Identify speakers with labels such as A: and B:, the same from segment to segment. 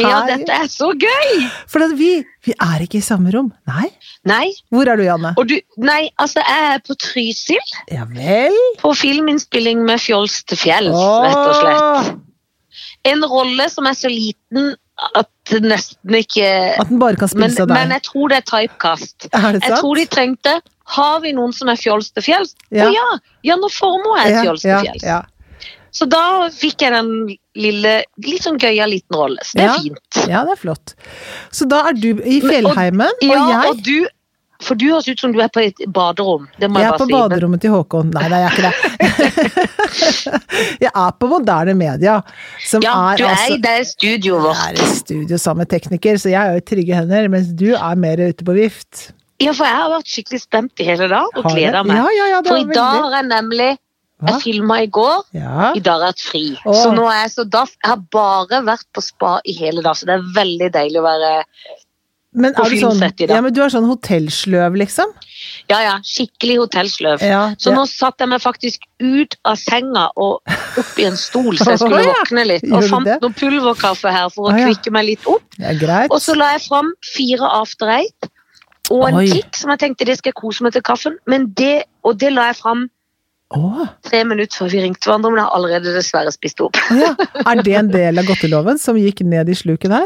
A: Ja,
B: Hei.
A: dette er så gøy!
B: For at vi, vi er ikke i samme rom. Nei.
A: Nei,
B: Hvor er du, Janne?
A: og du, nei altså jeg er på Trysil,
B: Ja vel?
A: på filminnspilling med Fjols til fjells, rett og slett.
B: Åh,
A: En rolle som er så liten at det nesten ikke
B: At den bare kan
A: men,
B: spilles av deg.
A: men jeg tror det er typekast.
B: er det sant?
A: Jeg tror de trengte Har vi noen som er fjols til fjells?
B: Ja.
A: Å ja! Janne Formoe er fjols til fjells.
B: Ja,
A: Så da fikk jeg den lille, litt sånn gøya liten rolle. Så det er
B: Ja.
A: fint.
B: ja. ja, det er flott. Så da er du i
A: Men- og-
B: fjellheimen, og,
A: Ja,
B: jeg
A: og du For du høres ut som du er på et baderom. Det må
B: jeg
A: jeg,
B: er på
A: bare si.
B: baderommet til Håkon. Nei, nei, jeg er ikke det. jeg er på moderne media, som
A: Men, ja,
B: er
A: du er
B: altså
A: i det studioet
B: jeg
A: vårt.
B: er i studio sammen med tekniker, så jeg er jo i trygge hender, mens du er mer ute på vift.
A: Ja, for jeg har vært skikkelig spent i hele dag og
B: Har jeg-
A: gleder meg.
B: Ja, ja, ja, det
A: For
B: er
A: i dag
B: veldig-
A: har jeg nemlig
B: Hva?
A: Jeg filma i går.
B: Ja.
A: I dag har jeg hatt fri.
B: Åh.
A: Så nå er jeg så daff. Jeg har bare vært på spa i hele dag, så det er veldig deilig å være
B: Men
A: på
B: er du sånn,
A: filmsett i dag.
B: ja, men du er sånn hotellsløv, liksom?
A: Ja, ja. Skikkelig hotellsløv.
B: Ja,
A: Så
B: det-
A: nå satt jeg meg faktisk ut av senga og opp i en stol, så jeg skulle
B: Å, ja.
A: våkne litt.
B: Gjorde
A: Og
B: du
A: fant
B: det?
A: noe pulverkaffe her for å
B: Å, ja.
A: kvikke meg litt opp.
B: det er greit.
A: Og så la jeg fram fire After Eight og en
B: Oi.
A: kick som jeg tenkte det skal jeg kose meg til kaffen. Men det, og det la jeg fram
B: Åh,
A: tre minutter før vi ringte hverandre, men jeg har allerede dessverre spist opp.
B: ja. Er det en del av godteloven som gikk ned i sluken her?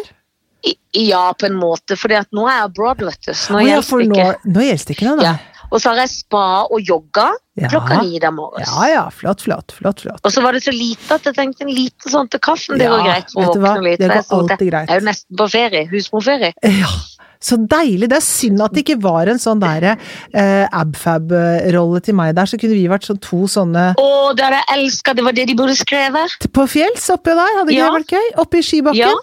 A: I- Ja, på en måte, for nå er jeg abroad, vet du. Så nå
B: Å ja,
A: gjelder
B: for
A: det
B: nå,
A: ikke.
B: nå gjelder det ikke noe,
A: Ja.
B: nei.
A: Og så har jeg spa og yoga
B: Ja.
A: klokka ni der morges.
B: Ja ja, flott, flott, flott. flott.
A: Og så var det så lite at jeg tenkte en liten sånn til kaffen, det
B: Ja,
A: går greit. for å
B: vet du hva?
A: våkne litt.
B: Det
A: For jeg
B: går
A: så at
B: alltid
A: jeg-
B: greit.
A: Jeg er jo nesten på ferie, husmorferie.
B: Ja, så deilig. Det er synd at det ikke var en sånn derre eh, abfab-rolle til meg der, så kunne vi vært sånn to sånne
A: Å, det hadde jeg elska, det var det de burde skrevet.
B: på fjells oppi der, hadde ikke
A: Ja.
B: det vært gøy? Oppe i skibakken.
A: Ja.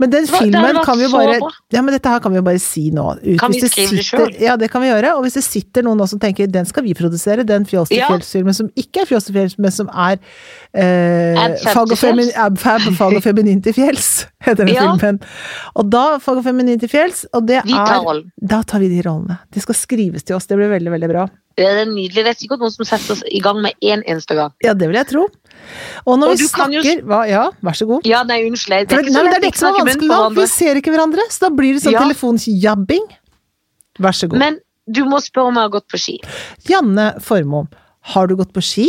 B: Men den
A: var- det hadde
B: filmen
A: vært
B: kan vi jo
A: så
B: bare
A: bra.
B: Ja, men dette her kan vi jo bare si nå. Ut,
A: Kan vi
B: hvis det
A: skrive det
B: sitter-
A: selv?
B: Ja, det kan vi gjøre. Og hvis det sitter noen nå som tenker den skal vi produsere, den Fjols til
A: Ja.
B: fjells-filmen som ikke er Fjols til fjells, men som er eh,
A: Abfab
B: Fag og
A: til fjells.
B: Femin- Abfab, Fag og feminin til fjells, heter den
A: Ja.
B: filmen. Og da Fag og feminin til fjells, og det
A: Vi tar
B: er
A: rollen.
B: Da tar vi de rollene. Det skal skrives til oss, det blir veldig, veldig bra.
A: Eh, Det er nydelig. Det er sikkert noen som setter oss i gang med én eneste gang.
B: Ja, det vil jeg tro. Og når
A: Og
B: vi
A: du kan jo
B: snakker hva, Ja, vær så god.
A: Ja, nei, unnskyld. Det
B: For
A: er ikke
B: det,
A: sånn
B: nei,
A: så lett
B: men det er
A: å
B: dette som er
A: snakke munn
B: vanskelig,
A: på
B: da. Vi
A: hverandre.
B: ser ikke hverandre. Så da blir det sånn
A: Ja.
B: telefonjabbing. Vær så god.
A: Men du må spørre om jeg har gått på ski.
B: Janne Formoe, har du gått på ski?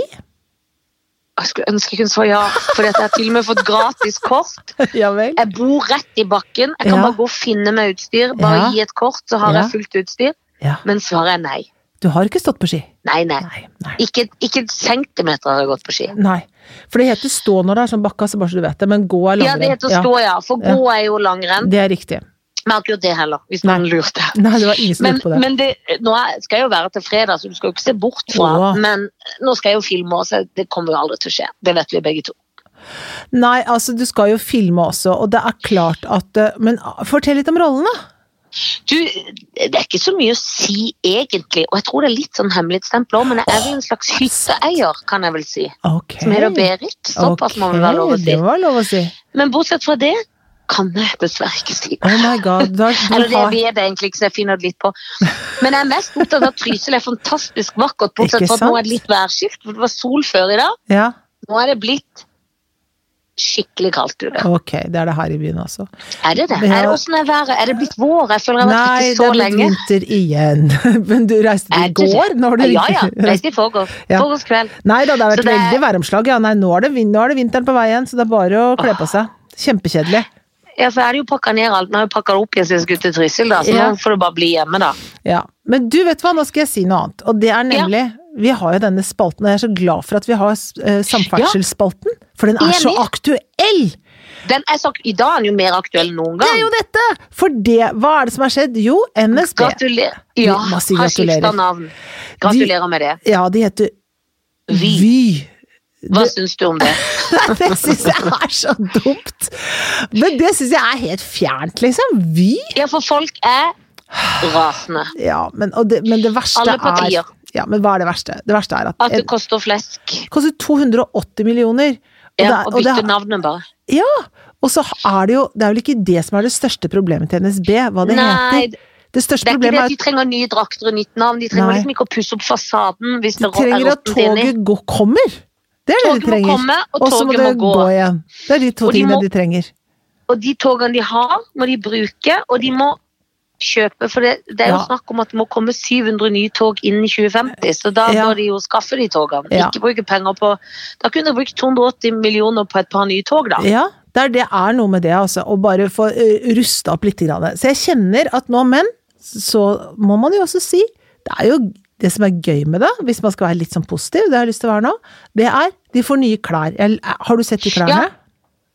A: Jeg skulle ønske jeg kunne svare ja, for jeg har til og med fått gratis kort.
B: Ja vel.
A: Jeg bor rett i bakken. Jeg kan
B: Ja.
A: bare gå og finne meg utstyr. Bare
B: Ja.
A: gi et kort, så har
B: Ja.
A: jeg fullt utstyr.
B: Ja.
A: Men svaret er nei.
B: Du har ikke stått på ski?
A: Nei, nei.
B: Nei. nei.
A: Ikke, ikke en centimeter har jeg gått på ski.
B: nei. For det heter stå når det er sånn bakka, så bare så du vet det. Men gå er
A: Ja,
B: langrenn.
A: det heter å stå, ja. For gå er jo langrenn.
B: det er riktig.
A: Men jeg har ikke gjort det heller, hvis
B: Nei.
A: noen lurte.
B: Nei, det var ingen som
A: Men,
B: lurte på det.
A: men det, nå er- skal jeg jo være til fredag, så du skal jo ikke se bort fra.
B: Åh.
A: Men nå skal jeg jo filme, så det kommer jo aldri til å skje. Det vet vi begge to.
B: Nei, altså du skal jo filme også, og det er klart at eh, Men ah, fortell litt om rollene.
A: Du, det er ikke så mye å si egentlig, og jeg tror det er litt sånn hemmelighetsstempel òg, men jeg er vel en slags hytteeier, kan jeg vel si.
B: Ok.
A: Som heter Berit. Såpass altså, må vel være lov å
B: Det
A: si.
B: må være lov å si.
A: Men bortsett fra det kan jeg dessverre ikke si.
B: Oh my god. Du har,
A: Eller
B: du
A: det
B: har,
A: vet jeg egentlig ikke, så jeg finner det litt på. Men jeg er mest opptatt av at Trysil er fantastisk vakkert, bortsett
B: Ikke
A: fra at nå er
B: sant?
A: det litt værskift, for det var sol før i dag.
B: ja,
A: Nå er det blitt skikkelig kaldt ute.
B: ok. Det er det her i byen også.
A: Er det det?
B: Ja.
A: Er det, hvordan er været? Er det blitt vår? Jeg føler jeg har vært
B: Nei,
A: ute
B: det
A: så
B: er blitt
A: lenge.
B: vinter igjen. Men du reiste
A: Er
B: i
A: det
B: går? Når du
A: Ja, ja. Reiste i forgårs.
B: Ja.
A: Forgårs kveld.
B: Nei da, det har
A: Så
B: vært
A: det er-
B: veldig væromslag. Ja, nei, nå er, det, vin- nå er det vinteren på vei igjen, så det er bare å kle på seg. Kjempekjedelig.
A: Ja, for jeg hadde jo pakka ned alt. Nå har jeg pakka det opp igjen siden jeg skulle til Trysil, da. Så
B: Ja.
A: nå får du bare bli hjemme, da.
B: Ja. Men du, vet du hva, nå skal jeg si noe annet. Og det er nemlig Vi har jo denne spalten, og jeg er så glad for at vi har eh, samferdselsspalten. For den er så
A: Enig.
B: aktuell!
A: Den er så, I dag er den jo mer aktuell enn noen
B: Det er
A: gang.
B: jo dette! For det, hva er det som har skjedd? Jo, NSB.
A: Gratulerer. Ja,
B: Vi må si
A: har skifta
B: gratulerer.
A: navn. Gratulerer med det.
B: Ja, de heter
A: Vy.
B: Vy.
A: Hva syns du om det?
B: Det syns jeg er så dumt! Men det syns jeg er helt fjernt, liksom. Vy.
A: Ja, for folk er rasende.
B: Ja, men, og det, men det verste
A: Alle partier.
B: er ja, men hva er det verste? Det verste er at,
A: At det
B: det
A: koster flesk.
B: koster 280 millioner. Og, det
A: Ja, å
B: er- og, det
A: bytte
B: er-
A: navnet, bare.
B: ja, og så er det jo Det er vel ikke det som er det største problemet til NSB, hva det
A: Nei,
B: heter. Det største
A: Det er ikke det
B: problemet
A: at
B: er
A: de trenger nye drakter og nytt navn. De trenger
B: Nei.
A: liksom ikke å pusse opp fasaden hvis det rå-
B: at de
A: er
B: trenger at
A: råttent inni.
B: toget går, kommer. Det er det de
A: Toget må
B: trenger.
A: komme, og
B: Og så må
A: toget må
B: det
A: gå.
B: gå igjen. Det er de to
A: Og de
B: tingene
A: må-
B: de trenger.
A: Og de togene de har, må de bruke, og de må kjøpe. For det, det er jo
B: Ja.
A: snakk om at det må komme 700 nye tog innen 2050, så da
B: Ja.
A: bør de jo skaffe de togene.
B: Ja.
A: Ikke bruke penger på Da kunne du brukt 280 millioner på et par nye tog, da.
B: Ja, det er, det er noe med det, altså. Å bare få eh, rusta opp litt. Grann. Så jeg kjenner at nå, men, så må man jo også si Det er jo det som er gøy med det, hvis man skal være litt sånn positiv, det har jeg lyst til å være nå, det er de får nye klær. Jeg, har du sett de klærne?
A: Ja.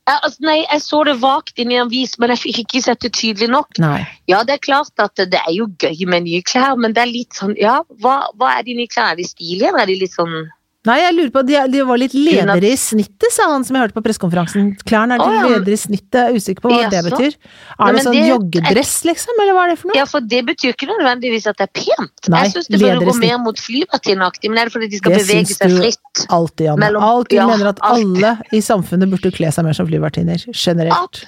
A: Jeg, altså, nei, jeg så det vagt inn i en avis, men jeg fikk ikke sett det tydelig nok.
B: Nei.
A: Ja, det er klart at det er jo gøy med nye klær, men det er litt sånn Ja, hva, hva er de nye klærne? Er de stilige, eller er de litt sånn
B: Nei, jeg lurer på, de, er- de var litt
A: Hun har-
B: ledere i snittet, sa han som jeg hørte på pressekonferansen. Klærne er litt
A: Å, ja.
B: ledere i snittet, jeg er usikker på hva det
A: Jaså.
B: betyr.
A: Nei,
B: Er det
A: men
B: sånn
A: det-
B: joggedress, liksom, eller hva er det for noe?
A: Ja, for det betyr ikke nødvendigvis at det er pent.
B: Nei,
A: jeg syns det burde
B: ledere
A: gå
B: snitt.
A: mer mot flyvertinneaktig, men er det fordi de skal
B: Det
A: bevege
B: syns
A: seg
B: du-
A: fritt?
B: Alltid, Janne.
A: Mellom-
B: alltid
A: ja,
B: mener at
A: alltid.
B: alle i samfunnet burde kle seg mer som flyvertinner. Generelt.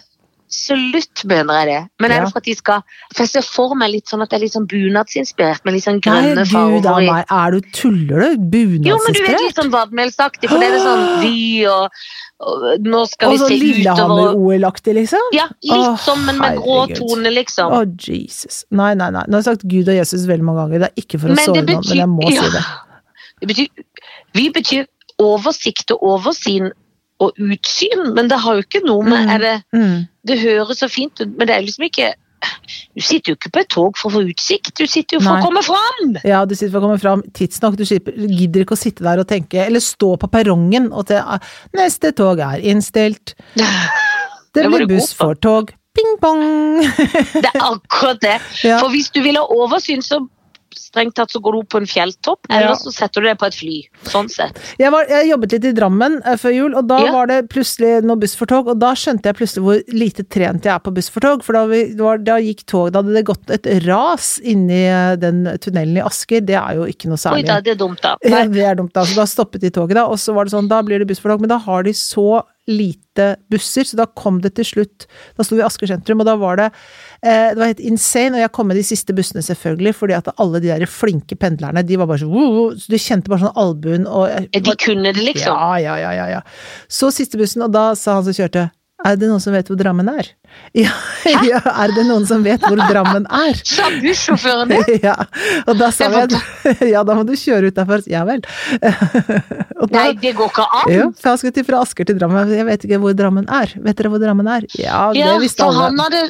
A: Absolutt mener jeg det. Men er
B: Ja.
A: det for at de skal For jeg ser for meg litt sånn at det er litt sånn bunadsinspirert, med litt sånn
B: Nei,
A: grønne
B: gud a
A: farger. i.
B: meg. Er du tuller du?
A: Jo, men du vet litt
B: Bunadsinspirert?
A: sånn vadmelsaktig, for det er det sånn vi og, og Nå skal
B: Og
A: vi
B: sånn
A: se utover
B: Lillehammer-OL-aktig, liksom?
A: Ja, litt
B: Å,
A: sånn, men med grå
B: herregud.
A: tone,
B: Å,
A: liksom.
B: Jesus. Nei, nei, nei. Nå har jeg sagt Gud og Jesus veldig mange ganger. Det er ikke for å
A: Men
B: såre
A: det
B: noen, men jeg må
A: betyr-
B: si det.
A: Det betyr, vi betyr oversikt og oversyn og utsyn, men det har jo ikke noe med
B: Mm.
A: er det,
B: Mm.
A: det høres så fint ut, men det er liksom ikke Du sitter jo ikke på et tog for å få utsikt, du sitter jo for
B: Nei.
A: å komme fram!
B: Ja, du sitter for å komme fram tidsnok. Du slipper, gidder ikke å sitte der og tenke, eller stå på perrongen og til neste tog er innstilt. Det
A: Det var
B: blir
A: du god
B: buss
A: på.
B: for tog. Ping pong!
A: Det er akkurat det.
B: Ja.
A: For hvis du vil ha oversyn, så strengt tatt så går du opp på en fjelltopp, eller
B: Ja.
A: så setter du deg på et fly. Sånn sett.
B: Jeg, var, jeg jobbet litt i Drammen eh, før jul, og da
A: Ja.
B: var det plutselig noe buss for tog, og da skjønte jeg plutselig hvor lite trent jeg er på buss for tog, for da, vi, det var, da gikk tog, da hadde det gått et ras inni eh, den tunnelen i Asker, det er jo ikke noe
A: Oi
B: særlig.
A: da, det er dumt, da.
B: Ja,
A: Nei.
B: det er dumt, da. Så da stoppet de toget, da. Og så var det sånn, da blir det buss for tog. Men da har de så lite busser, så da kom det til slutt Da sto vi i Asker sentrum, og da var det eh, Det var helt insane. Og jeg kom med de siste bussene, selvfølgelig, fordi at alle de der flinke pendlerne, de var bare sånn «Wow, wow», Så du kjente bare sånn albuen og jeg-
A: De kunne det, liksom.
B: ja, ja, ja, ja, ja. Så siste bussen, og da sa han som kjørte Er det noen som vet hvor Drammen er? Ja, ja er det noen som vet hvor Drammen er?
A: Sa bussjåføren det?
B: ja, og da sa
A: Det
B: vi
A: var
B: at ja, da må du kjøre ut derfra. Ja vel. og da,
A: Nei, det går ikke an.
B: jo, for han skulle til fra Asker til Drammen. Jeg vet ikke hvor Drammen er. Vet dere hvor Drammen er? Ja, det
A: Ja,
B: visste
A: for han
B: alle.
A: hadde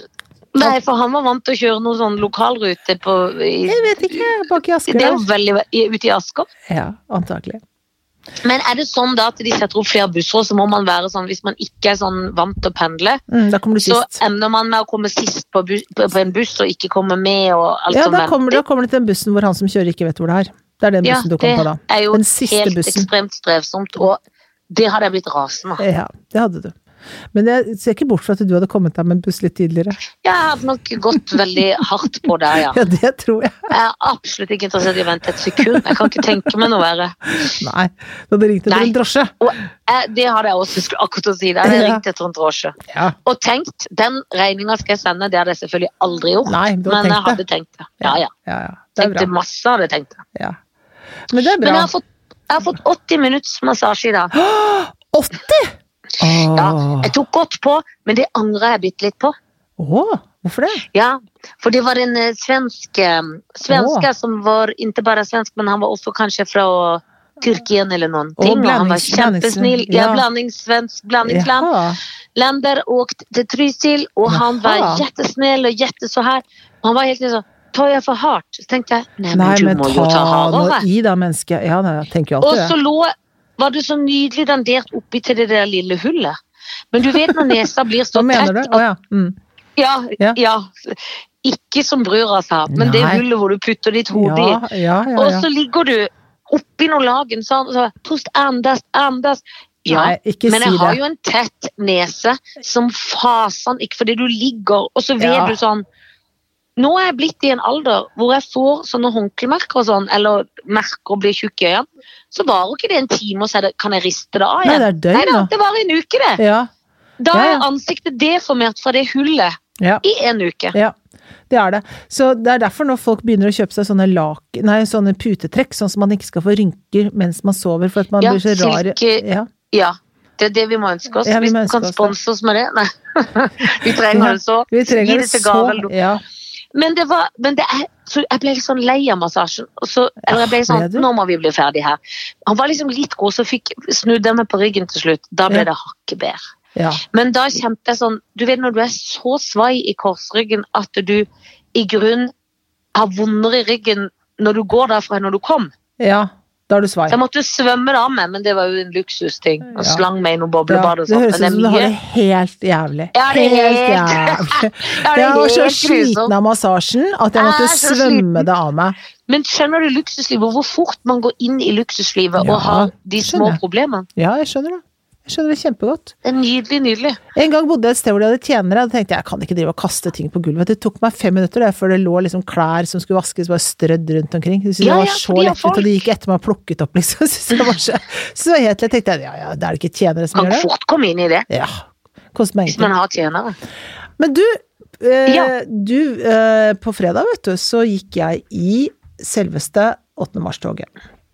A: Nei, for han var vant til å kjøre noen sånn lokalrute på i,
B: Jeg vet ikke, bak i Asker
A: Det er jo
B: der.
A: veldig i- ute i Asker.
B: Ja, antakelig.
A: Men er det sånn da at de setter opp flere busser, så må man være sånn hvis man ikke er sånn vant til å pendle,
B: Mm, da kommer du
A: så
B: sist.
A: ender man med å komme sist på, bus, på på en buss og ikke komme med og alt
B: Ja,
A: som
B: da
A: venter.
B: kommer, da kommer du til den bussen hvor han som kjører, ikke vet hvor det er. Det er den
A: Ja,
B: bussen du
A: det
B: kom på da.
A: er jo
B: Den siste
A: helt
B: bussen.
A: ekstremt strevsomt, og det hadde jeg blitt rasende av.
B: Ja, det hadde du. Men jeg ser ikke bort fra at du hadde kommet deg med en buss litt tidligere.
A: Jeg hadde nok gått veldig hardt på der, ja.
B: Ja, det tror jeg.
A: Jeg er absolutt ikke interessert i å vente et sekund. Jeg kan ikke tenke meg noe verre.
B: Nei, da hadde ringt etter
A: Nei.
B: en drosje.
A: Og jeg, det hadde jeg også skulle akkurat å si. Da hadde jeg ringt etter en drosje.
B: Ja.
A: Og tenkt, den regninga skal jeg sende, det hadde jeg selvfølgelig aldri gjort.
B: Nei, men du hadde
A: men jeg
B: tenkt
A: hadde tenkt det. Ja, ja.
B: Ja, ja. Det er
A: Tenkte
B: bra.
A: masse, hadde jeg tenkt.
B: Ja. Men det er
A: Men
B: bra.
A: jeg har fått, jeg har fått 80 minutts massasje i dag.
B: 80!
A: Ja,
B: Åh.
A: jeg tok godt på, men det angrer jeg bitte litt på.
B: Åh, hvorfor det?
A: Ja, for det var en eh, svensk eh, svenske som var ikke bare svensk, men han var også kanskje fra Tyrkia eller noen
B: Åh,
A: ting. Og han var
B: blandings-
A: kjempesnill.
B: blandings-
A: Ja,
B: ja.
A: blandingssvensk, blandingsland.
B: Jaha.
A: Länder åkt till Trysil och han
B: Jaha.
A: var jättesnäll och jätte så här. Han var helt sånn Tar jeg for hardt? Så tenkte jeg nei, men
B: Nei,
A: du
B: men
A: må jo ta
B: ta nå
A: hardere.
B: i da, menneske. Ja, nei, jeg tenker jo
A: Og så
B: alltid det.
A: lå Var du så nydelig dandert oppi til det der lille hullet? Men du vet når nesa blir så
B: Hva mener du?
A: tett
B: Å ja. Mm.
A: at ja,
B: Ja.
A: ja. Ikke som brura sa, men det
B: Nei.
A: hullet hvor du putter ditt hode
B: Ja,
A: i.
B: ja, ja.
A: Og
B: ja.
A: så ligger du oppi noen lagen sånn og så Pust, andas, andas. Ja,
B: Nei, ikke
A: Men
B: si
A: jeg har
B: det.
A: jo en tett nese som fasen ikke fordi du ligger, og så vet
B: Ja.
A: du sånn Nå er jeg blitt i en alder hvor jeg får sånne håndklemerker og sånn, eller merker og blir tjukk i øynene. Så varer ikke det en time, og så er det, kan jeg riste det av
B: Nei,
A: igjen.
B: det er døgn,
A: da,
B: da.
A: det varer en uke, det.
B: Ja,
A: Da
B: Ja, ja.
A: er ansiktet deformert fra det hullet
B: ja.
A: i en uke.
B: Ja, det er det. Så det er derfor når folk begynner å kjøpe seg sånne, lak, nei, sånne putetrekk, sånn som man ikke skal få rynker mens man sover, for at man
A: Ja,
B: blir så rar. i-
A: silke-
B: Ja,
A: Ja. Det er det vi må ønske oss.
B: Ja, vi
A: Hvis
B: må
A: du
B: ønske
A: kan
B: oss det.
A: sponse oss med det. Nei. vi trenger det så.
B: Vi
A: Gi
B: trenger det
A: til gave
B: så.
A: eller noe.
B: Ja.
A: Men det var men det er, så Jeg ble litt sånn lei av massasjen. Og så, eller jeg ble sånn
B: Ah, ble du?
A: Nå må vi bli ferdig her. Han var liksom litt god, så fikk snudde jeg meg på ryggen til slutt. Da ble
B: Ja.
A: det hakket bedre.
B: ja.
A: Men da kjente jeg sånn Du vet når du er så svai i korsryggen at du i grunn har vondere i ryggen når du går derfra enn når du kom.
B: ja. Da er du svai.
A: Så jeg måtte jo svømme det av meg, men det var jo en luksusting. Og
B: Ja.
A: slang meg i noe
B: Ja,
A: boblebad og
B: det
A: sånt.
B: høres
A: Men
B: ut
A: det er
B: som du har
A: mye.
B: det helt jævlig.
A: Ja, det er helt-
B: jævlig.
A: Ja, det er
B: Jeg var så
A: helt grusomt.
B: sliten av massasjen at jeg
A: Jeg
B: måtte
A: er så
B: svømme det av meg.
A: Men skjønner du luksuslivet, hvor fort man går inn i luksuslivet
B: Ja,
A: og har de små
B: skjønner jeg.
A: problemene?
B: Ja, jeg skjønner det. Jeg skjønner det kjempegodt.
A: Det er nydelig, nydelig.
B: En gang bodde jeg et sted hvor de hadde tjenere, og da tenkte jeg jeg kan ikke drive og kaste ting på gulvet. Det tok meg fem minutter det, før det lå liksom klær som skulle vaskes, bare strødd rundt omkring. Jeg syntes
A: Ja,
B: det var
A: ja,
B: så
A: for de har
B: lettvint, og de gikk etter meg og plukket opp, liksom. Jeg syntes det var så, så helt lett. Jeg tenkte ja, ja, det er det ikke tjenere som
A: Kan
B: gjør det?
A: fort komme inn i det,
B: Ja. Koster meg
A: hvis man
B: ingenting.
A: har tjenere.
B: Men du, eh,
A: Ja.
B: du eh, på fredag, vet du, så gikk jeg i selveste 8. mars-toget.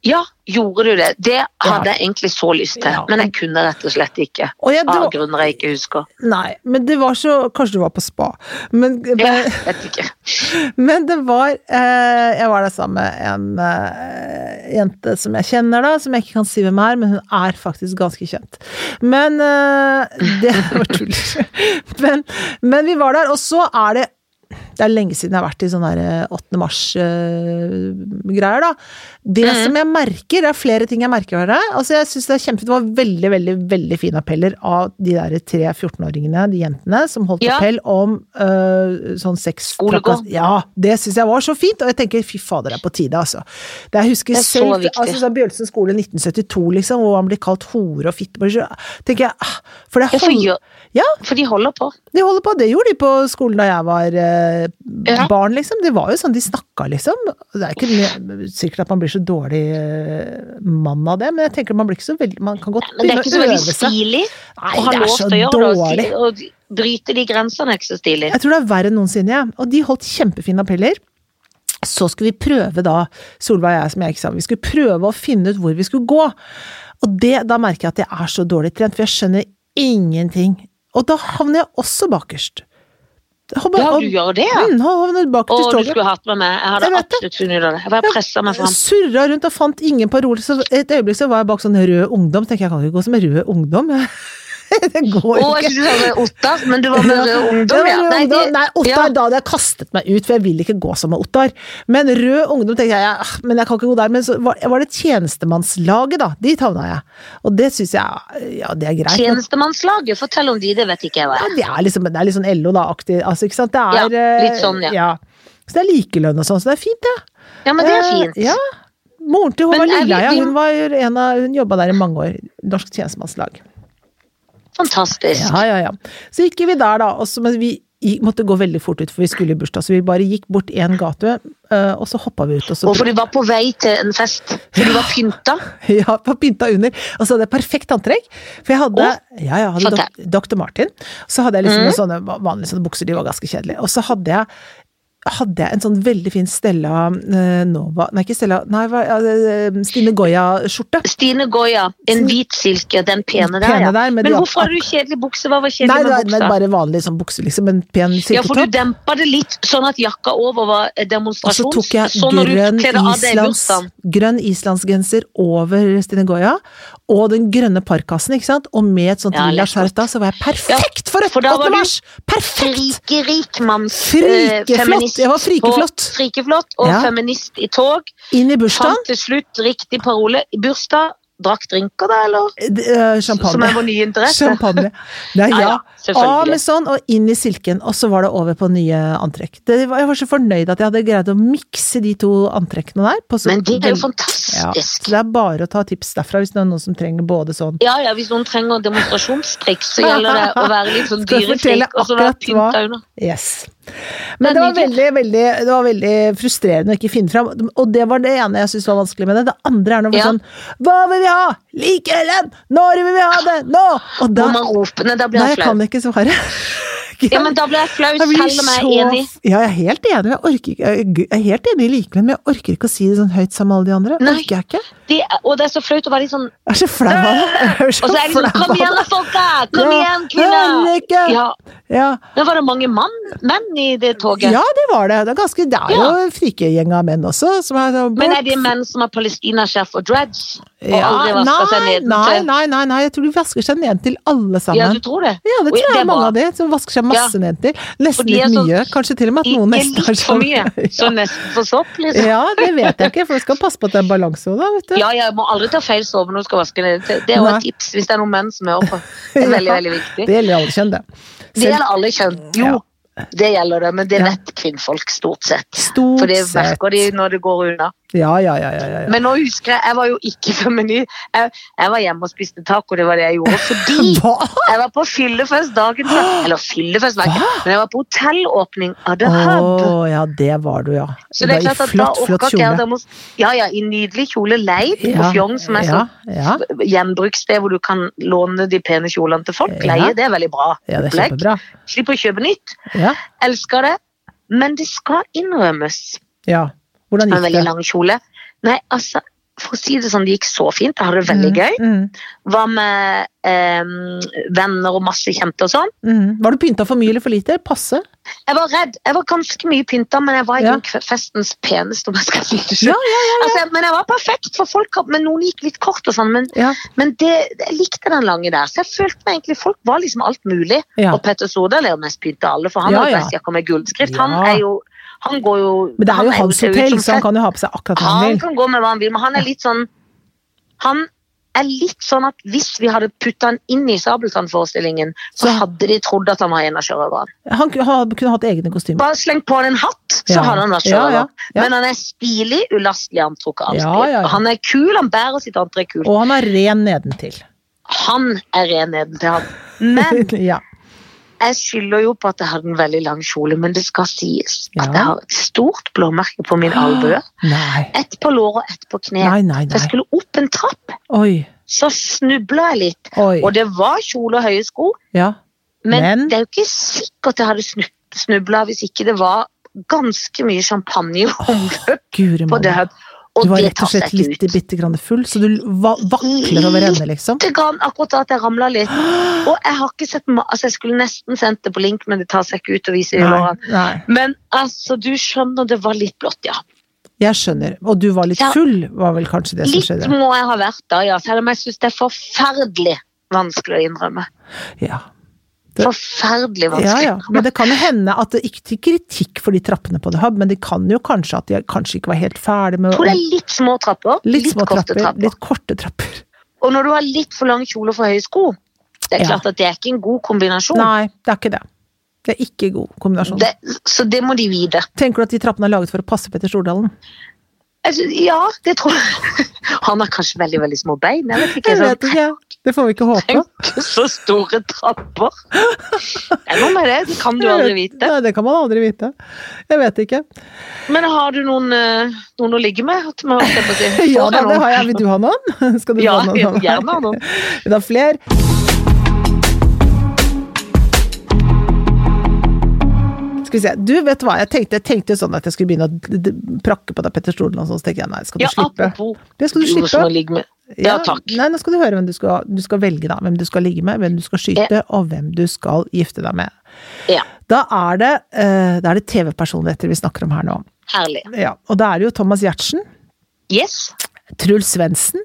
A: Ja, gjorde du det? Det hadde jeg egentlig så lyst til,
B: Ja.
A: men jeg kunne rett og slett ikke.
B: Og jeg
A: Av
B: dro...
A: grunner jeg ikke husker.
B: Nei, men det var så Kanskje du var på spa, men
A: Jeg vet ikke.
B: Men det var eh, Jeg var der sammen med en eh, jente som jeg kjenner, da, som jeg ikke kan si hvem er, men hun er faktisk ganske kjent. Men eh, Det var tull. men, men vi var der, og så er det det er lenge siden jeg har vært i sånne her, eh, 8. mars-greier, da. Det
A: Mhm.
B: som jeg merker, det er flere ting jeg merker ved det. Altså, jeg synes Det er kjempefint. Det var veldig veldig, veldig fine appeller av de der tre 14-åringene, de jentene, som holdt
A: Ja.
B: appell om eh, sånn sex
A: Skolegård.
B: ja, det syns jeg var så fint, og jeg tenker fy fader, det er på tide, altså. Det jeg husker
A: Det er så
B: selv
A: viktig.
B: altså, da Bjølsen skole 1972, liksom, hvor han blir kalt hore og fitte, bare så- tenker jeg ah, For det
A: Hvorfor
B: hold,
A: gjør
B: Ja.
A: For de holder på.
B: de holder på, det gjorde de på skolen da jeg var eh,
A: Ja.
B: barn, liksom. Det var jo sånn de snakka, liksom. Det er ikke nø- sikkert at man blir så dårlig eh, mann av det, men jeg tenker man blir ikke så veldig Man kan godt
A: Men det er ikke så
B: begynne å
A: veldig
B: øve seg.
A: stilig
B: Nei,
A: å ha
B: det er
A: lov
B: så
A: til å gjøre det. og
B: dårlig.
A: si- Og bryte de grensene er ikke så stilig.
B: Jeg tror det er verre enn noensinne, jeg. Og de holdt kjempefine appeller. Så skulle vi prøve, da, Solveig og jeg, som jeg ikke sa, vi skulle prøve å finne ut hvor vi skulle gå. Og det, da merker jeg at jeg er så dårlig trent, for jeg skjønner ingenting. Og da havner jeg også bakerst. Hopp-
A: Ja,
B: og-
A: du gjør det, ja.
B: Mm, havner bakerst i
A: Og du
B: toget.
A: skulle hatt med meg. Jeg hadde
B: Jeg vet det.
A: absolutt funnet ut av det. Jeg bare pressa meg fram.
B: Surra rundt og fant ingen parole. Så et øyeblikk så var jeg bak sånn rød ungdom. Tenker jeg kan ikke gå som rød ungdom. det
A: Å,
B: går ikke.
A: jeg synes det var Ottar, men du var med Rød Ungdom,
B: Ja,
A: ja.
B: Rød
A: Nei,
B: Ungdom.
A: det-
B: Nei, Ottar,
A: ja.
B: da hadde jeg kastet meg ut, for jeg vil ikke gå som med Ottar. Men Rød Ungdom tenkte jeg, ah, men jeg kan ikke gå der. Men så var, var det tjenestemannslaget, da. Dit havna jeg. Og det syns jeg, ja, det er greit. men-
A: Tjenestemannslaget, fortell om de, det vet ikke jeg hva
B: Ja,
A: er.
B: det er liksom, det er litt sånn LO, da, aktig. Altså, ikke sant. Det er
A: Ja, litt
B: eh,
A: sånn, ja.
B: Så det er likelønn og sånn, så det er fint, det.
A: Ja, men det er fint.
B: Eh, Ja. Moren til
A: Men
B: Håvard
A: er vi-
B: Lilleheia,
A: vi-
B: hun, var en av- hun jobba der i mange år. Norsk tjenestemannslag.
A: Fantastisk.
B: Ja, ja, ja. Så gikk vi der, da. Og så, men vi gikk- måtte gå veldig fort ut, for vi skulle i bursdag. Så vi bare gikk bort én gate, eh, og så hoppa vi ut. Og så
A: Og for du var på vei til en fest, så du var pynta.
B: ja, på pynta under. Og så hadde jeg perfekt antrekk. For jeg hadde,
A: Å,
B: ja, jeg hadde dok Dr. Martin. Så hadde jeg
A: Mhm.
B: liksom noen sånne vanlige sånne bukser, de var ganske kjedelige. Og så hadde jeg hadde jeg en sånn veldig fin Stella eh, Nova Nei, ikke Stella nei, hva, ja, eh, Stine Goya-skjorte.
A: Stine Goya, en hvit silke, den pene der,
B: Pene
A: ja.
B: der, med
A: Men
B: de
A: hvorfor
B: ak-
A: hadde du kjedelig bukse? Hva var
B: Nei,
A: kjedelig
B: det var
A: med
B: men
A: buksa?
B: bare vanlig sånn bukse, liksom. En pen
A: Ja, for du
B: silketopp.
A: dempa det litt, sånn at jakka over var eh,
B: Og så
A: demonstrasjons.
B: tok jeg
A: Sånn når du
B: grønn,
A: kledde av deg i
B: islands,
A: bursdagen.
B: grønn islandsgenser over Stine Goya, og den grønne parkkassen, ikke sant? Og med et sånt
A: Ja,
B: lilla
A: lett
B: skjerf da, så var jeg perfekt for
A: for da
B: 8.
A: var du
B: mars! Perfekt!
A: Frikemanns
B: Frikeflott.
A: eh, feminist
B: Jeg var frikeflott.
A: på- Frikeflott og
B: Ja.
A: feminist i tog.
B: Inn i bursdagen.
A: Fant til slutt riktig parole i bursdag. Drakk drinker da, eller?
B: d- eh, Champagne.
A: Som er vår nye interesse.
B: Champagne. Nei,
A: Ja,
B: ja.
A: ja,
B: Av
A: selvfølgelig.
B: med sånn, og inn i silken. Og så var det over på nye antrekk. Det var, jeg var så fornøyd at jeg hadde greid å mikse de to antrekkene der. På så,
A: Men det er jo
B: ja. Så
A: fantastisk.
B: det er bare å ta tips derfra hvis det er noen som trenger både sånn
A: Ja, ja, hvis noen trenger demonstrasjonstrikk, så gjelder det å være litt sånn
B: Skal jeg fortelle
A: dyrefrik og så være
B: akkurat hva-
A: pynta under.
B: Yes.
A: Det
B: Men
A: er
B: det var,
A: nydelig.
B: veldig, veldig, det var veldig frustrerende å ikke finne fram. Og det var det ene jeg syntes var vanskelig med det. Det andre er noe
A: Ja.
B: sånn Hva vil vi ha? Likelønn! Når vil vi ha det? Nå! Og da
A: Hvor man roper Nei, da blir
B: Nei,
A: han
B: jeg
A: flau.
B: kan ikke svare. ikke
A: Ja, men da blir jeg flau,
B: Jeg blir
A: selv om jeg
B: så-
A: er enig.
B: Ja, jeg er helt enig. Jeg, orker ikke, jeg er helt enig i likelønn, men jeg orker ikke å si det sånn høyt sammen med alle de andre.
A: Nei.
B: Orker jeg ikke.
A: Det, og det er så flaut å være litt sånn
B: Jeg er så flau av det. Jeg er så
A: Og så er det
B: flau
A: sånn Kom
B: av
A: igjen,
B: det.
A: da, folka! Kom
B: Ja.
A: igjen, kvinner!
B: Henrike!
A: Ja,
B: Ja.
A: Nå var det mange mann, menn i det toget.
B: ja, det var det. Det er, ganske, det er
A: Ja.
B: jo frikegjeng av menn også. Som er, sånn,
A: Men er det menn som har palestinasjef og dreads? Og
B: ja,
A: aldri
B: nei,
A: vasker seg ned?
B: nei, nei, nei, nei, jeg tror de vasker seg ned til alle
A: Ja,
B: sammen.
A: du tror det?
B: Ja, det
A: Oi,
B: tror jeg
A: det
B: er
A: er
B: mange
A: bra.
B: av de som vasker seg masse
A: Ja.
B: ned til.
A: For
B: Nesten
A: de er
B: litt
A: sånn-
B: mye. Kanskje til og med at noen nesten
A: Ikke
B: har
A: litt for
B: sånn.
A: mye, så nesten for sopp, liksom.
B: Ja, det vet jeg ikke, for vi skal passe på at det er balanse òg, da, vet du.
A: Ja, jeg må aldri ta feil sove når du skal vaske ned. Det det er jo
B: Nei.
A: et tips hvis det er noen menn som hører på. Det er veldig,
B: Ja,
A: veldig viktig.
B: Det gjelder alle kjønn, det.
A: Det gjelder alle kjønn. Jo, det gjelder det, men det
B: Ja.
A: vet kvinnfolk stort sett. For
B: Stort
A: det
B: sett.
A: merker de når det går unna.
B: Ja, ja, ja, ja, ja, ja.
A: Men nå husker jeg, jeg var jo ikke femini. Jeg, jeg var hjemme og spiste taco, det var det jeg gjorde. Fordi
B: Hva?
A: jeg var på fyllefest dagen før. Eller fyllefest, var jeg ikke. Men jeg var på hotellåpning av The
B: Å
A: Hub.
B: ja, det var du, ja.
A: Så det er
B: Da i
A: klart at da orka ikke jeg det må- Ja ja, i nydelig kjole leid på
B: Ja,
A: Fjong, som er
B: ja,
A: sånn
B: ja,
A: gjenbrukssted hvor du kan låne de pene kjolene til folk.
B: Ja.
A: Leie, det er veldig bra.
B: ja, det er
A: Opplegg.
B: kjempebra.
A: Slipper å kjøpe nytt.
B: Ja,
A: Elsker det. Men det skal innrømmes.
B: ja. Hvordan
A: En
B: gikk
A: veldig
B: det?
A: lang kjole. Nei, altså, for å si det sånn, det gikk så fint. Jeg hadde det veldig
B: Mm,
A: gøy.
B: mm,
A: Var med eh, venner og masse kjente og sånn.
B: mm. Var du pynta for mye eller for lite? Passe?
A: Jeg var redd. Jeg var ganske mye pynta, men jeg var
B: Ja.
A: ikke festens peneste, om jeg skal si det
B: Ja,
A: selv. Altså, jeg- men jeg var perfekt for folk, men noen gikk litt kort og sånn. Men,
B: Ja.
A: men det, jeg likte den lange der. Så jeg følte meg egentlig Folk var liksom alt mulig.
B: ja.
A: Og Petter Stordal er jo mest pynta av alle, for han
B: Ja,
A: har
B: ja.
A: ja. jakke med gullskrift. Han
B: Ja.
A: er jo Han går jo
B: Men det er jo hans
A: ser ut
B: hotell,
A: som
B: så han
A: fett.
B: kan jo ha på seg akkurat hva han
A: Han
B: vil.
A: kan gå med hva han vil, men han er litt sånn Han er litt sånn at hvis vi hadde putta han inn i Sabeltann-forestillingen, så
B: Så-
A: hadde de trodd at han var en av sjørøverne.
B: Han ku- ha- kunne hatt egne kostymer.
A: Bare slengt på han en hatt, så
B: Ja.
A: hadde han vært
B: Ja,
A: sjørøver.
B: ja, ja.
A: Men han er stilig, ulastelig, han tror ikke
B: Ja, ja, ja.
A: Han er kul, han bærer sitt antrekk kult.
B: Og han er ren nedentil.
A: Han er ren nedentil, han. Men
B: ja.
A: jeg skylder jo på at jeg hadde en veldig lang kjole, men det skal sies
B: Ja.
A: at jeg har et stort blåmerke på min albue.
B: Nei.
A: Ett på låret og ett på kneet.
B: Nei, nei,
A: Jeg
B: nei.
A: skulle opp en trapp,
B: Oi,
A: så snubla jeg litt.
B: oi.
A: Og det var kjole og høye sko,
B: Ja.
A: men,
B: Men?
A: det er jo ikke sikkert jeg hadde snubla hvis ikke det var ganske mye champagne i omløp
B: Guri
A: på det.
B: malla.
A: Og
B: Mm. Du var
A: det
B: rett
A: tar
B: og slett
A: seg
B: litt
A: ikke ut.
B: bitte grann full, så du va vakler over ende, liksom?
A: Lite grann, akkurat da at jeg ramla litt. Og jeg har ikke sett ma- altså Jeg skulle nesten sendt det på link, men det tar seg ikke ut å vise i
B: Nei,
A: lårene.
B: nei.
A: Men altså, du skjønner, det var litt blått, ja.
B: Jeg skjønner. Og du var litt
A: Ja.
B: full, var vel kanskje det som
A: Litt
B: skjedde?
A: må jeg ha vært da, ja. Selv om jeg syns det er forferdelig vanskelig å innrømme.
B: Ja. Det-
A: Forferdelig
B: ja,
A: vanskelig.
B: ja. Men det kan jo hende at det ikke til kritikk for de trappene på The Hub, men det kan jo kanskje at de kanskje ikke var helt ferdig med
A: Jeg tror det er litt små trapper.
B: litt
A: Litt,
B: små
A: korte
B: trapper,
A: trapper.
B: Litt korte trapper.
A: Og når du har litt for lang kjole og for høye sko, det er
B: Ja.
A: klart at det er ikke en god kombinasjon.
B: Nei, det er ikke det. Det er ikke god kombinasjon.
A: Det, så det må de vite.
B: Tenker du at de trappene er laget for å passe Petter Stordalen?
A: Altså, ja, det tror jeg. Han har kanskje veldig veldig små bein. Jeg vet ikke.
B: Jeg
A: sånn,
B: vet ikke, jeg. Det får vi ikke håpe.
A: Tenk så store trapper! Det er noe med det. Det kan du
B: Jeg
A: aldri
B: vet-
A: vite.
B: Nei, det kan man aldri vite. Jeg vet ikke.
A: Men har du noen, eh, noen å ligge med? At man- jeg på å si,
B: Ja
A: får jeg
B: da, det
A: noen?
B: har jeg. Vil du ha noen? Skal du
A: Ja,
B: ha noen?
A: jeg vil gjerne ha noen.
B: Vil du ha flere? Skal vi se. Du, vet du hva? Jeg tenkte, jeg tenkte jo sånn at jeg skulle begynne å d- d- prakke på deg Petter Stordalen, og sånn, så tenkte jeg nei, skal du
A: Ja,
B: slippe?
A: apropos
B: Det skal du
A: noe som å
B: slippe.
A: ligge med. Ja, takk.
B: Nei, nå skal du høre hvem du skal, du skal velge, da. Hvem du skal ligge med, hvem du skal skyte, og hvem du skal gifte deg med.
A: Ja,
B: Da er det, eh, da er det TV-personligheter vi snakker om her nå.
A: herlig.
B: Ja, og da er det jo Thomas Giertsen,
A: Yes.
B: Truls Svendsen,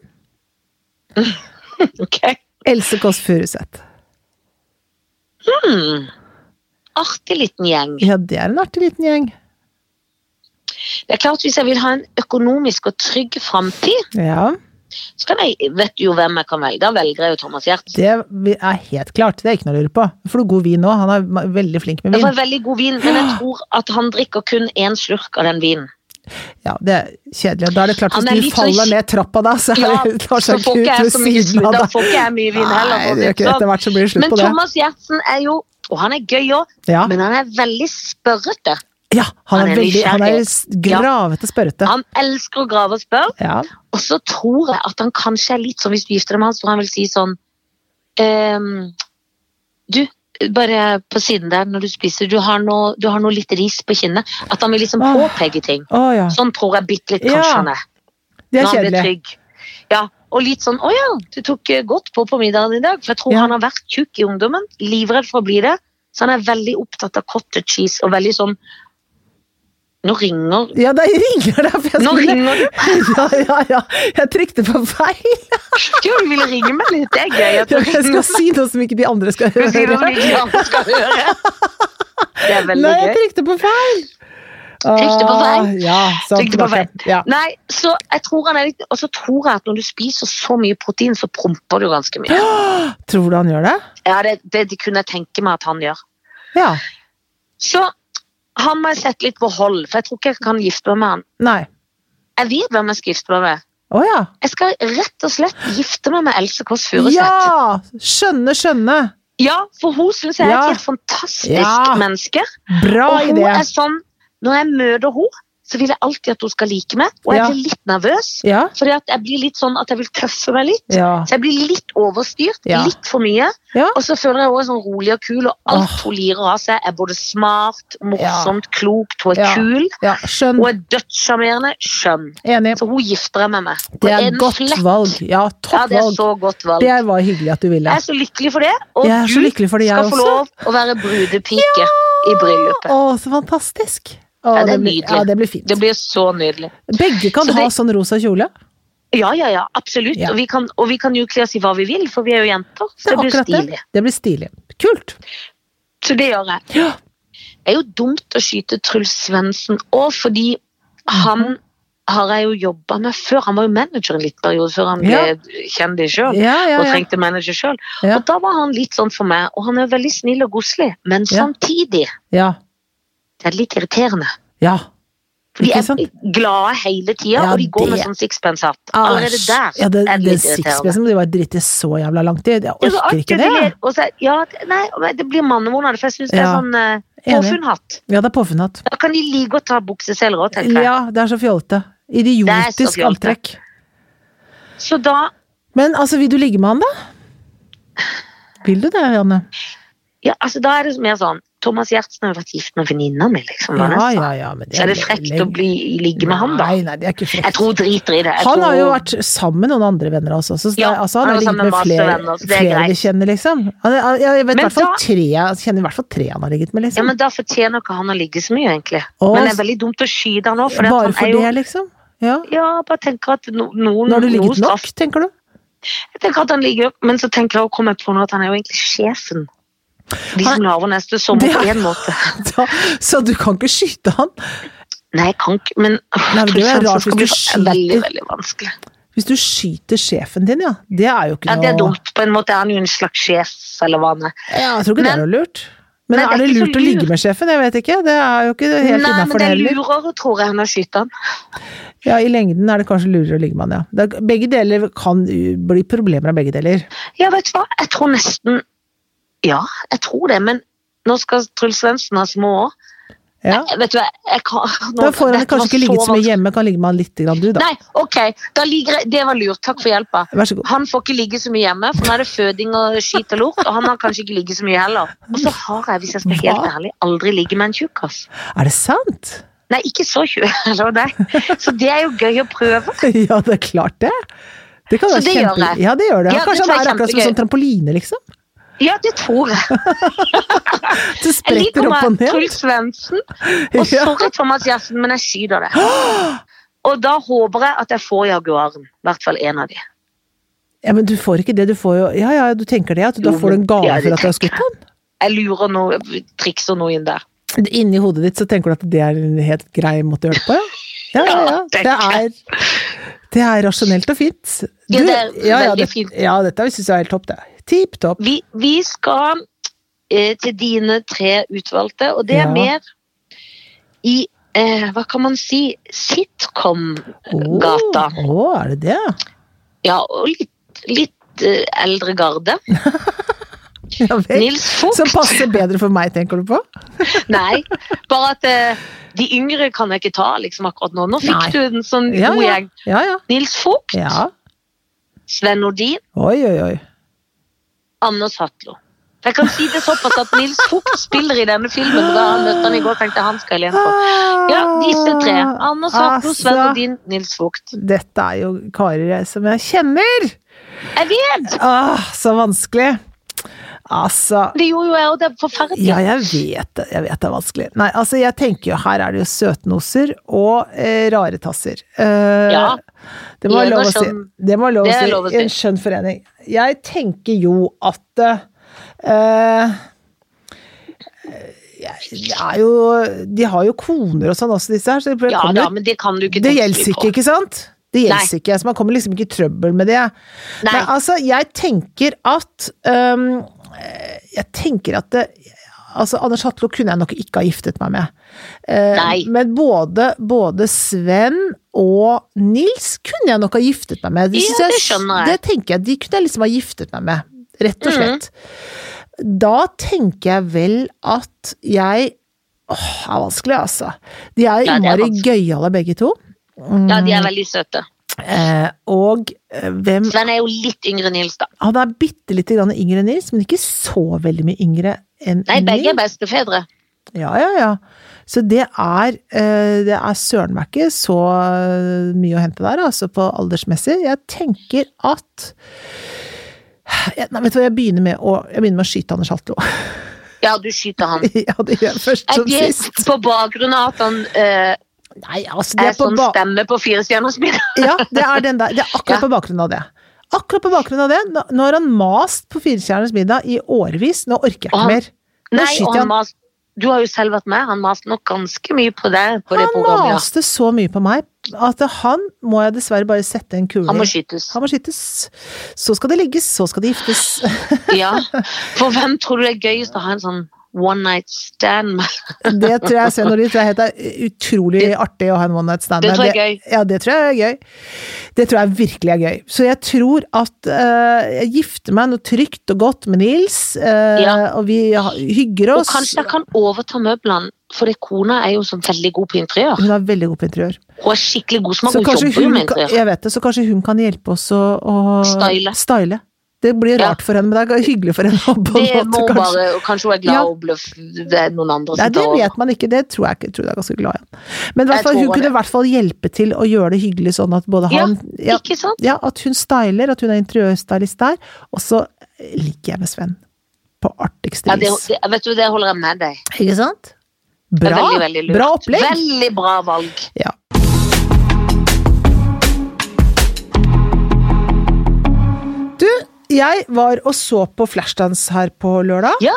A: Ok.
B: Else Kåss Furuseth.
A: Hmm. Artig liten gjeng.
B: Ja, det er en artig liten gjeng.
A: Det er klart Hvis jeg vil ha en økonomisk og trygg framtid,
B: Ja,
A: så kan jeg, vet du jo hvem jeg kan velge. Da velger jeg jo Thomas Giertsen.
B: det vi- er helt klart. Det er ikke noe å lure på. Får du god vin nå? Han er ma- veldig flink med
A: Det var
B: vin.
A: veldig god vin, men jeg tror at han drikker kun én slurk av den vinen.
B: Ja, det er kjedelig. Og Da er det klart,
A: Han
B: hvis
A: er
B: du
A: litt sånn
B: faller
A: kj-
B: ned trappa da, så
A: Ja,
B: er det tar
A: så
B: seg
A: får
B: ikke ut
A: ikke jeg
B: ved
A: så mye
B: siden
A: slutt,
B: av
A: da
B: deg.
A: får ikke jeg mye vin heller.
B: Nei,
A: for å
B: det
A: si
B: er
A: det
B: ikke
A: sånn.
B: Etter hvert så blir det slutt
A: Men
B: på det.
A: Thomas Giertsen er jo Og han er gøy òg,
B: Ja,
A: men han er veldig spørrete.
B: ja han
A: han
B: er
A: er
B: veldig Han er
A: nysgjerrig.
B: s- gravete og spørrete.
A: Han elsker å grave og spørre,
B: Ja.
A: og så tror jeg at han kanskje er litt sånn hvis du gifter deg med han, så han vil si sånn ehm, Du, bare på siden der når du spiser, du har noe, du har noe litt ris på kinnet. At han vil liksom
B: Ah.
A: påpeke ting.
B: Å ja.
A: Sånn tror jeg bitte litt
B: Ja,
A: kanskje han er.
B: Det er
A: når han blir
B: kjedelig.
A: trygg. Ja, og litt sånn 'Å ja, du tok eh, godt på på middagen i dag.' For jeg tror
B: Ja.
A: han har vært tjukk i ungdommen, livredd for å bli det. Så han er veldig opptatt av cottage cheese og veldig sånn Nå ringer
B: Ja, da ringer det, for jeg
A: Nå
B: skulle
A: ringer du!
B: Ja, ja, ja. Jeg trykte på feil.
A: Jo, du ville ringe meg litt, det er gøy. At du
B: Jeg skal
A: ringer.
B: si noe som ikke de andre skal
A: Du sier noe
B: høre.
A: du ikke andre skal høre. Det er veldig
B: Nei, jeg
A: gøy.
B: trykte på feil!
A: Trykte på feil.
B: Ah, Ja, sant,
A: Trykte på
B: tilbake. Ja.
A: Nei, så jeg tror han er litt Og så tror jeg at når du spiser så mye protein, så promper du ganske mye.
B: Tror du han gjør det?
A: Ja, det, det, det kunne jeg tenke meg at han gjør.
B: Ja.
A: Så han må jeg sette litt på hold, for jeg tror ikke jeg kan gifte meg med han.
B: Nei.
A: Jeg vet hvem jeg skal gifte meg med.
B: Å ja.
A: Jeg skal rett og slett gifte meg med Else Kåss Furuseth. Ja!
B: Ja! Skjønne, skjønne.
A: for hun syns jeg er
B: Ja.
A: et helt fantastisk
B: Ja.
A: menneske.
B: Bra
A: Og hun
B: idé.
A: er sånn Når jeg møter henne, så vil jeg alltid at hun skal like meg, og jeg
B: Ja.
A: blir litt nervøs.
B: Ja.
A: Fordi at jeg blir litt sånn at jeg vil tøffe meg litt.
B: Ja.
A: Så jeg blir litt overstyrt,
B: Ja.
A: litt for mye.
B: Ja.
A: Og så føler jeg også sånn rolig og kul, og alt
B: Åh.
A: hun lirer av seg, er både smart, morsomt, klokt, hun er
B: Ja.
A: kul.
B: ja. Skjønn.
A: Hun er dødssjarmerende. Skjønn.
B: Enig.
A: Så hun gifter jeg med meg. På
B: Det er
A: en
B: godt
A: flett.
B: valg. Ja,
A: Ja,
B: topp
A: det er
B: valg.
A: så godt valg.
B: Det var hyggelig at du ville.
A: Jeg er så lykkelig for det, og
B: Jeg er så
A: du
B: lykkelig for det, jeg
A: skal få
B: også.
A: lov å være brudepike i bryllupet.
B: Å, så fantastisk. Å,
A: Ja, det er
B: blir,
A: nydelig.
B: ja, det blir fint.
A: Det blir så nydelig.
B: Begge kan
A: Så
B: ha
A: det-
B: sånn rosa kjole.
A: Ja, ja, ja, absolutt.
B: Ja.
A: Og, vi kan, og vi kan jo kle oss i hva vi vil, for vi er jo jenter. Så det, blir
B: akkurat
A: stilig.
B: Det. det blir stilig. Kult.
A: Så det gjør jeg.
B: Ja.
A: Det er jo dumt å skyte Truls Svendsen, og fordi
B: Mhm.
A: han har jeg jo jobba med før. Han var jo manager en liten periode før han ble
B: Ja.
A: kjendis sjøl.
B: Ja, ja,
A: og
B: ja.
A: trengte manager sjøl.
B: Ja.
A: Og da var han litt sånn for meg, og han er veldig snill og koselig, men
B: Ja.
A: samtidig
B: ja.
A: det er litt irriterende.
B: ja.
A: For de
B: Ikke sant?
A: er glade hele tida,
B: Ja,
A: og de går
B: det-
A: med sånn sixpence-hatt. Allerede
B: Ah, Æsj.
A: der
B: ja, det,
A: er det
B: det
A: litt irriterende.
B: sixpencen må de bare drite så jævla langt i. Jeg
A: Ja, så
B: orker ikke
A: akkurat
B: det.
A: de ler, og så- ja, det- nei, men det blir mannevond av det, for jeg syns det er
B: Ja.
A: sånn eh,
B: Enig.
A: påfunnhatt.
B: Ja, det er påfunnet.
A: Da kan de like godt ta bukseseler òg, tenker jeg.
B: Ja, det er så fjollete.
A: Det er så
B: Idiotisk
A: fjollete.
B: antrekk.
A: Så da
B: Men altså, vil du ligge med han, da? Vil du det, Janne?
A: ja, altså, da er det mer sånn Thomas Giertsen har jo vært gift med venninna mi, liksom.
B: Ja,
A: Vanessa.
B: ja, ja. Men
A: Så er det frekt å bli ligge med han, da.
B: Nei, nei, det er ikke frekt.
A: Jeg tror hun driter i det. Jeg
B: han
A: tror
B: har jo
A: hun-
B: vært sammen med noen andre venner også. Så det,
A: Ja,
B: er- altså,
A: han
B: han har
A: er
B: ligget
A: sammen
B: med
A: med masse
B: flere,
A: venner, så det er
B: flere
A: greit.
B: vi kjenner, liksom. Han, er- jeg, jeg vet i
A: Men
B: hvert fall
A: da-
B: tre jeg kjenner i hvert fall tre han har ligget med,
A: Ja,
B: liksom.
A: men Da fortjener ikke han å ligge så mye, egentlig.
B: Å,
A: men det er veldig dumt å skyte han òg.
B: Bare for det, liksom? Ja.
A: Ja, bare tenker at no, noen
B: Nå har du
A: noe
B: ligget nok,
A: straff-
B: tenker du?
A: Jeg tenker at han ligger, Men så tenker jeg å komme på nå at han er jo egentlig sjefen. De som lager neste sommer
B: Det
A: på
B: er-
A: én måte.
B: Så, så du kan ikke skyte han.
A: Nei, jeg kan ikke Men åh,
B: Nei, men det er jo
A: Truls Hansen
B: rart
A: skal
B: hvis
A: bli
B: du
A: for- veldig,
B: skyter-
A: veldig vanskelig.
B: Hvis du skyter sjefen din, ja. Det er jo ikke
A: Ja,
B: noe
A: Det er dumt. På en måte er han jo en slags sjef, eller hva han er.
B: Ja, jeg tror ikke det
A: Men-
B: er noe lurt. Men
A: Nei, det er
B: er det
A: ikke så
B: lurt å ligge med sjefen? Jeg vet ikke. Det er jo ikke helt
A: Nei, men
B: innafor
A: det
B: det
A: er
B: heller.
A: lurere, tror jeg, enn å skyte han.
B: Ja, I lengden er det kanskje lurere å ligge med han, ja. Det er, begge deler kan uh, bli problemer av begge deler.
A: Ja, vet du hva, jeg tror nesten Ja, jeg tror det, men nå skal Truls Svendsen ha små òg.
B: Ja.
A: Jeg- Vet du hva, jeg kan nå,
B: Da får han
A: dette var
B: kanskje ikke ligget så mye
A: vanskelig.
B: hjemme, kan ligge med han litt, grann, du da.
A: Nei, ok, da ligger jeg Det var lurt, takk for hjelpa.
B: Vær så god.
A: Han får ikke ligge så mye hjemme, for nå er det føding og skit og lort, og han har kanskje ikke ligget så mye heller. Og så har jeg, hvis jeg skal være helt
B: Hva?
A: ærlig, aldri ligget med en tjukkas.
B: Er det sant?
A: Nei, ikke så tjukk, eller nei. Så det er jo gøy å prøve.
B: Ja, det er klart det. Det kan
A: Så
B: være
A: det gjør
B: kjempe...
A: jeg.
B: Ja, det gjør det.
A: Ja, det
B: kanskje
A: tror
B: han
A: jeg
B: er akkurat som
A: kjempegøy.
B: en sånn trampoline, liksom.
A: Ja, det tror jeg. Jeg
B: Du
A: liker
B: spretter opp og
A: meg
B: ned.
A: Truls Svendsen, og
B: Ja.
A: sorry Thomas Gjertsen, men jeg skyter det. Og da håper jeg at jeg får Jaguaren. I hvert fall én av de.
B: Ja, men du får ikke det. Du får jo Ja, ja, du tenker det, at du da
A: Jo,
B: får du en gave
A: ja, det
B: for at du har
A: tenker
B: skutt han?
A: Jeg lurer noe, trikser noe inn der.
B: Inni hodet ditt så tenker du at det er en helt grei måte å gjøre det på, ja? Ja, ja, ja.
A: Ja, det
B: Det er, det er rasjonelt og fint.
A: Ja, det er veldig
B: det-
A: fint.
B: Ja, dette syns jeg er helt topp, det. Tipp topp.
A: Vi, vi skal eh, til dine tre utvalgte, og det er
B: Ja.
A: mer i eh, hva kan man si sitcom-gata.
B: Å, å, er det det?
A: Ja, og litt, litt eh, eldre garde.
B: Ja vel.
A: Nils Vogt.
B: Som passer bedre for meg, tenker du på?
A: Nei, bare at eh, de yngre kan jeg ikke ta liksom akkurat nå. Nå fikk
B: Nei.
A: du en sånn
B: Ja,
A: god
B: ja.
A: gjeng.
B: Ja, ja.
A: Nils Vogt,
B: ja.
A: Sven Nordin,
B: Oi, oi, oi.
A: Anders Hatlo. For jeg kan si det såpass at Nils Vogt spiller i denne filmen, og da møtte han i går, tenkte jeg, han skal jeg lene på. Ja, disse tre. Anders Hartmo, Sven
B: Ah, Altså,
A: og din Nils Vogt.
B: Dette er jo karer jeg- som jeg kjenner!
A: Jeg vet!
B: Ah, så vanskelig. Altså
A: Det gjorde jo jeg, og det er forferdelig.
B: Ja, jeg vet det. Jeg vet det er vanskelig. Nei, altså, jeg tenker jo her er det jo søtnoser og eh, rare tasser. Eh,
A: Ja.
B: Det må
A: I
B: være
A: en
B: lov å
A: og
B: si.
A: skjønn-
B: Det må være lov
A: det
B: å
A: er
B: si.
A: lov å
B: I en skjønn forening. Jeg tenker jo at eh, jeg- det er jo De har jo koner og sånn også, disse her. Så det
A: Ja
B: kommer
A: da,
B: jo-
A: men det kan du ikke
B: det
A: tenke
B: gjelder
A: på.
B: ikke, ikke sant? Det gjelder
A: Nei.
B: ikke, så man kommer liksom ikke i trøbbel med det.
A: Nei.
B: Men altså, jeg tenker at øhm, eh, Jeg tenker at det, altså, Anders Hatlo kunne jeg nok ikke ha giftet meg med. Eh,
A: Nei.
B: Men både, både Sven og Nils kunne jeg nok ha giftet meg med.
A: Ja,
B: synes
A: det skjønner jeg. Mm.
B: Det tenker jeg, De kunne jeg liksom ha giftet meg med, rett og slett. Da tenker jeg vel at jeg Åh, det er vanskelig, altså. De er
A: Ja, det er
B: innmari
A: vanskelig.
B: gøyale, begge to.
A: Ja, de er veldig søte.
B: Eh, og eh, hvem
A: Sven er jo litt yngre enn Nils, da.
B: Han er bitte lite grann yngre enn Nils, men ikke så veldig mye yngre enn
A: Nei, begge er
B: Nils.
A: bestefedre.
B: Ja, ja, ja. Så det er, eh, det er søren meg ikke så eh, mye å hente der, altså på aldersmessig. Jeg tenker at jeg, Nei, vet du hva, jeg begynner med å, jeg begynner med å skyte Anders Hatlo.
A: Ja, du skyter han.
B: ja, det gjør jeg først
A: Er
B: som
A: det
B: sist.
A: på bakgrunn av at han eh,
B: Nei, altså, det
A: er
B: er på
A: sånn
B: ba
A: stemme på Fire stjerners middag?
B: Ja, det er den der. Det er akkurat
A: Ja.
B: på bakgrunn av det. Akkurat på bakgrunn av det. Nå nå har han mast på Firestjerners middag i årevis. Nå orker jeg
A: Og
B: ikke
A: han-
B: mer. Nå
A: Nei, og
B: skyter jeg
A: han mas Du har jo selv vært med, han maste nok ganske mye på deg på det
B: Han
A: programmet. ja.
B: maste så mye på meg at han må jeg dessverre bare sette en kule
A: Han må
B: i.
A: skytes.
B: Han må skytes. Så skal det ligges, så skal det giftes.
A: Ja. For hvem tror du det er gøyest å ha en sånn one night stand med?
B: Det tror jeg Sven Nordin tror jeg helt er utrolig artig å ha en one night stand
A: Det
B: med.
A: tror jeg er gøy.
B: Ja, det tror jeg er gøy. Det tror jeg virkelig er gøy. Så jeg tror at eh, jeg gifter meg noe trygt og godt med Nils, eh,
A: Ja.
B: og vi ha- hygger
A: Og
B: oss.
A: kanskje jeg kan overta møblene, for det kona er jo sånn veldig god på interiør.
B: Hun er veldig god på interiør.
A: Hun er skikkelig god smak,
B: Så
A: hun
B: kanskje
A: jobber jo
B: hun,
A: med
B: kan-
A: interiør.
B: jeg vet det, så kanskje hun kan hjelpe oss å, å
A: Style.
B: style. Det blir
A: Ja.
B: rart for henne, men det er hyggelig for henne. på en
A: Det
B: måte,
A: må hun
B: kanskje.
A: bare, og kanskje hun er
B: Ja.
A: glad og bløff det er noen andre
B: Nei,
A: som
B: det
A: tar over.
B: vet man ikke, det tror jeg ikke. Jeg tror det er ganske glad i han. Men i
A: Jeg
B: hvert fall,
A: tror
B: hun
A: det.
B: kunne i hvert fall hjelpe til å gjøre det hyggelig sånn at både
A: Ja,
B: han ja,
A: Ikke sant?
B: ja, at hun styler, at hun er interiørstylist der. Og så ligger jeg med Sven. På artigste
A: Ja, det,
B: vis.
A: det, vet du, det holder jeg med deg.
B: Ikke sant?
A: Det er
B: Bra,
A: veldig, veldig lurt.
B: bra opplegg.
A: Veldig bra valg.
B: Ja. Du, jeg var og så på flashdance her på lørdag.
A: Ja,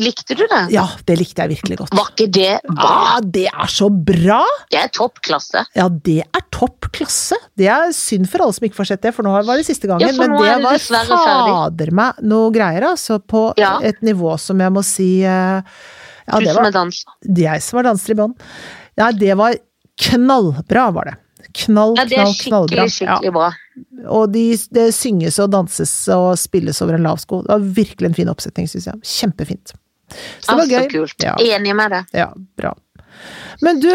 A: likte du det?
B: Ja, det likte jeg virkelig godt.
A: Var ikke det bra?
B: Ah, det er så bra!
A: Det er toppklasse.
B: Ja, det er topp klasse. Det er synd for alle som ikke får sett det, for nå var det siste gangen.
A: Ja, for
B: men
A: nå
B: det
A: er det
B: var
A: dessverre ferdig.
B: fader meg noe greier, altså. På
A: Ja.
B: et nivå som jeg må si eh, Ja,
A: Du
B: det
A: som
B: var
A: er danser.
B: det jeg som var danser i bånd. Ja, det var knallbra, var det. Knall,
A: Ja, det er
B: knall, knallbra.
A: skikkelig, skikkelig bra.
B: Ja, og de, det synges og danses og spilles over en lav sko. Det var virkelig en fin oppsetning, syns jeg. Kjempefint. Så det var
A: Altså,
B: gøy.
A: kult.
B: Ja,
A: Enig med deg.
B: ja, bra. Men du,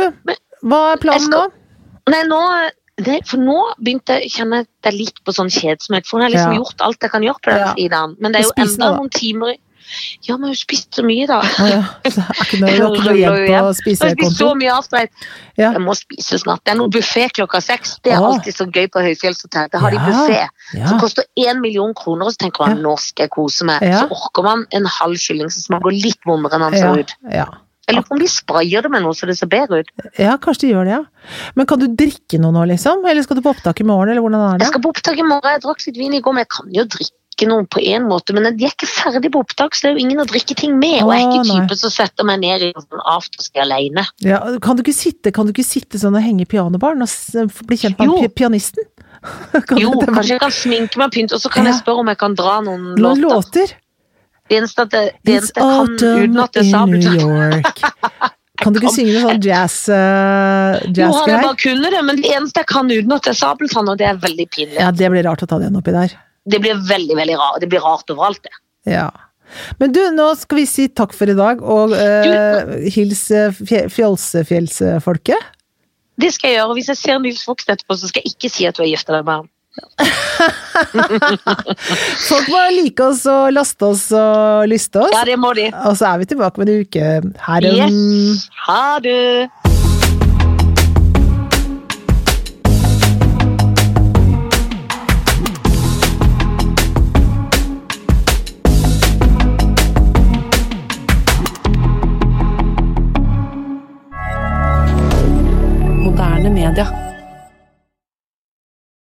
B: hva er planen
A: Jeg
B: nå?
A: skal- Nei, nå det, for nå begynte jeg å kjenne at jeg litt på sånn kjedsomhet. For nå har jeg liksom
B: Ja.
A: gjort alt jeg kan gjøre på den
B: Ja.
A: fridagen. Men det er jo
B: Og spise
A: enda
B: nå, da.
A: noen timer i- Ja, men hun spiste så mye, da.
B: Å ja, så det er ikke noe
A: Ruller
B: rocker igjen
A: jo
B: på
A: hjem. Hun spiste så
B: spisekontoen.
A: mye afterrett.
B: Ja.
A: Jeg må spise snart. Det er noe buffé klokka seks. Det er
B: Åh.
A: alltid så gøy på høyfjellshotell. Det har de
B: Ja.
A: buffé.
B: Ja.
A: Som koster én million kroner, og så tenker man
B: Ja.
A: nå skal jeg kose meg.
B: Ja.
A: Så orker man en halv kylling som smaker litt vondere enn han
B: Ja,
A: ser ut.
B: ja.
A: Jeg lurer på om de sprayer det med noe så det ser bedre ut.
B: ja, kanskje de gjør det, ja. Men kan du drikke noe nå, liksom? Eller skal du på opptak i morgen, eller hvordan er
A: Jeg
B: det?
A: skal på opptak i morgen. Jeg drakk litt vin i går, men jeg kan jo drikke noe på en måte. Men de er ikke ferdig på opptak, så det er jo ingen å drikke ting med. Og jeg er
B: Å,
A: ikke
B: nei.
A: typen som setter meg ned i en sånn afterski alene.
B: Ja, kan, du ikke sitte, kan du ikke sitte sånn og henge i pianobaren og s- bli kjent med
A: Jo.
B: pi- pianisten? Kan
A: Jo,
B: dette være-
A: kanskje jeg kan sminke meg og pynte, og så kan
B: Ja.
A: jeg spørre om jeg kan dra noen
B: noen
A: låter.
B: låter?
A: Det eneste, at jeg, det
B: It's
A: eneste jeg kan uten
B: autumn
A: at det er
B: in New
A: sabeltann
B: York. Kan du ikke synge noe sånn jazz, uh,
A: Jo, hadde jeg
B: jazzgreier?
A: bare kunne det, men det eneste jeg kan uten at det er sabeltann, og det er veldig pinlig.
B: Ja, det blir rart å ta det igjen oppi der.
A: Det blir veldig, veldig rart. Det blir rart overalt, det.
B: Ja. Men du, nå skal vi si takk for i dag, og uh, hils eh, fje- fjolsefjellsfolket.
A: Det skal jeg gjøre. og Hvis jeg ser Nils Vogt etterpå, så skal jeg ikke si at du er gift med ham.
B: Folk må like oss og laste oss og lyste oss.
A: Ja, det må de.
B: Og så er vi tilbake med en uke her. um,
A: Yes. Ha det.
C: Moderne media.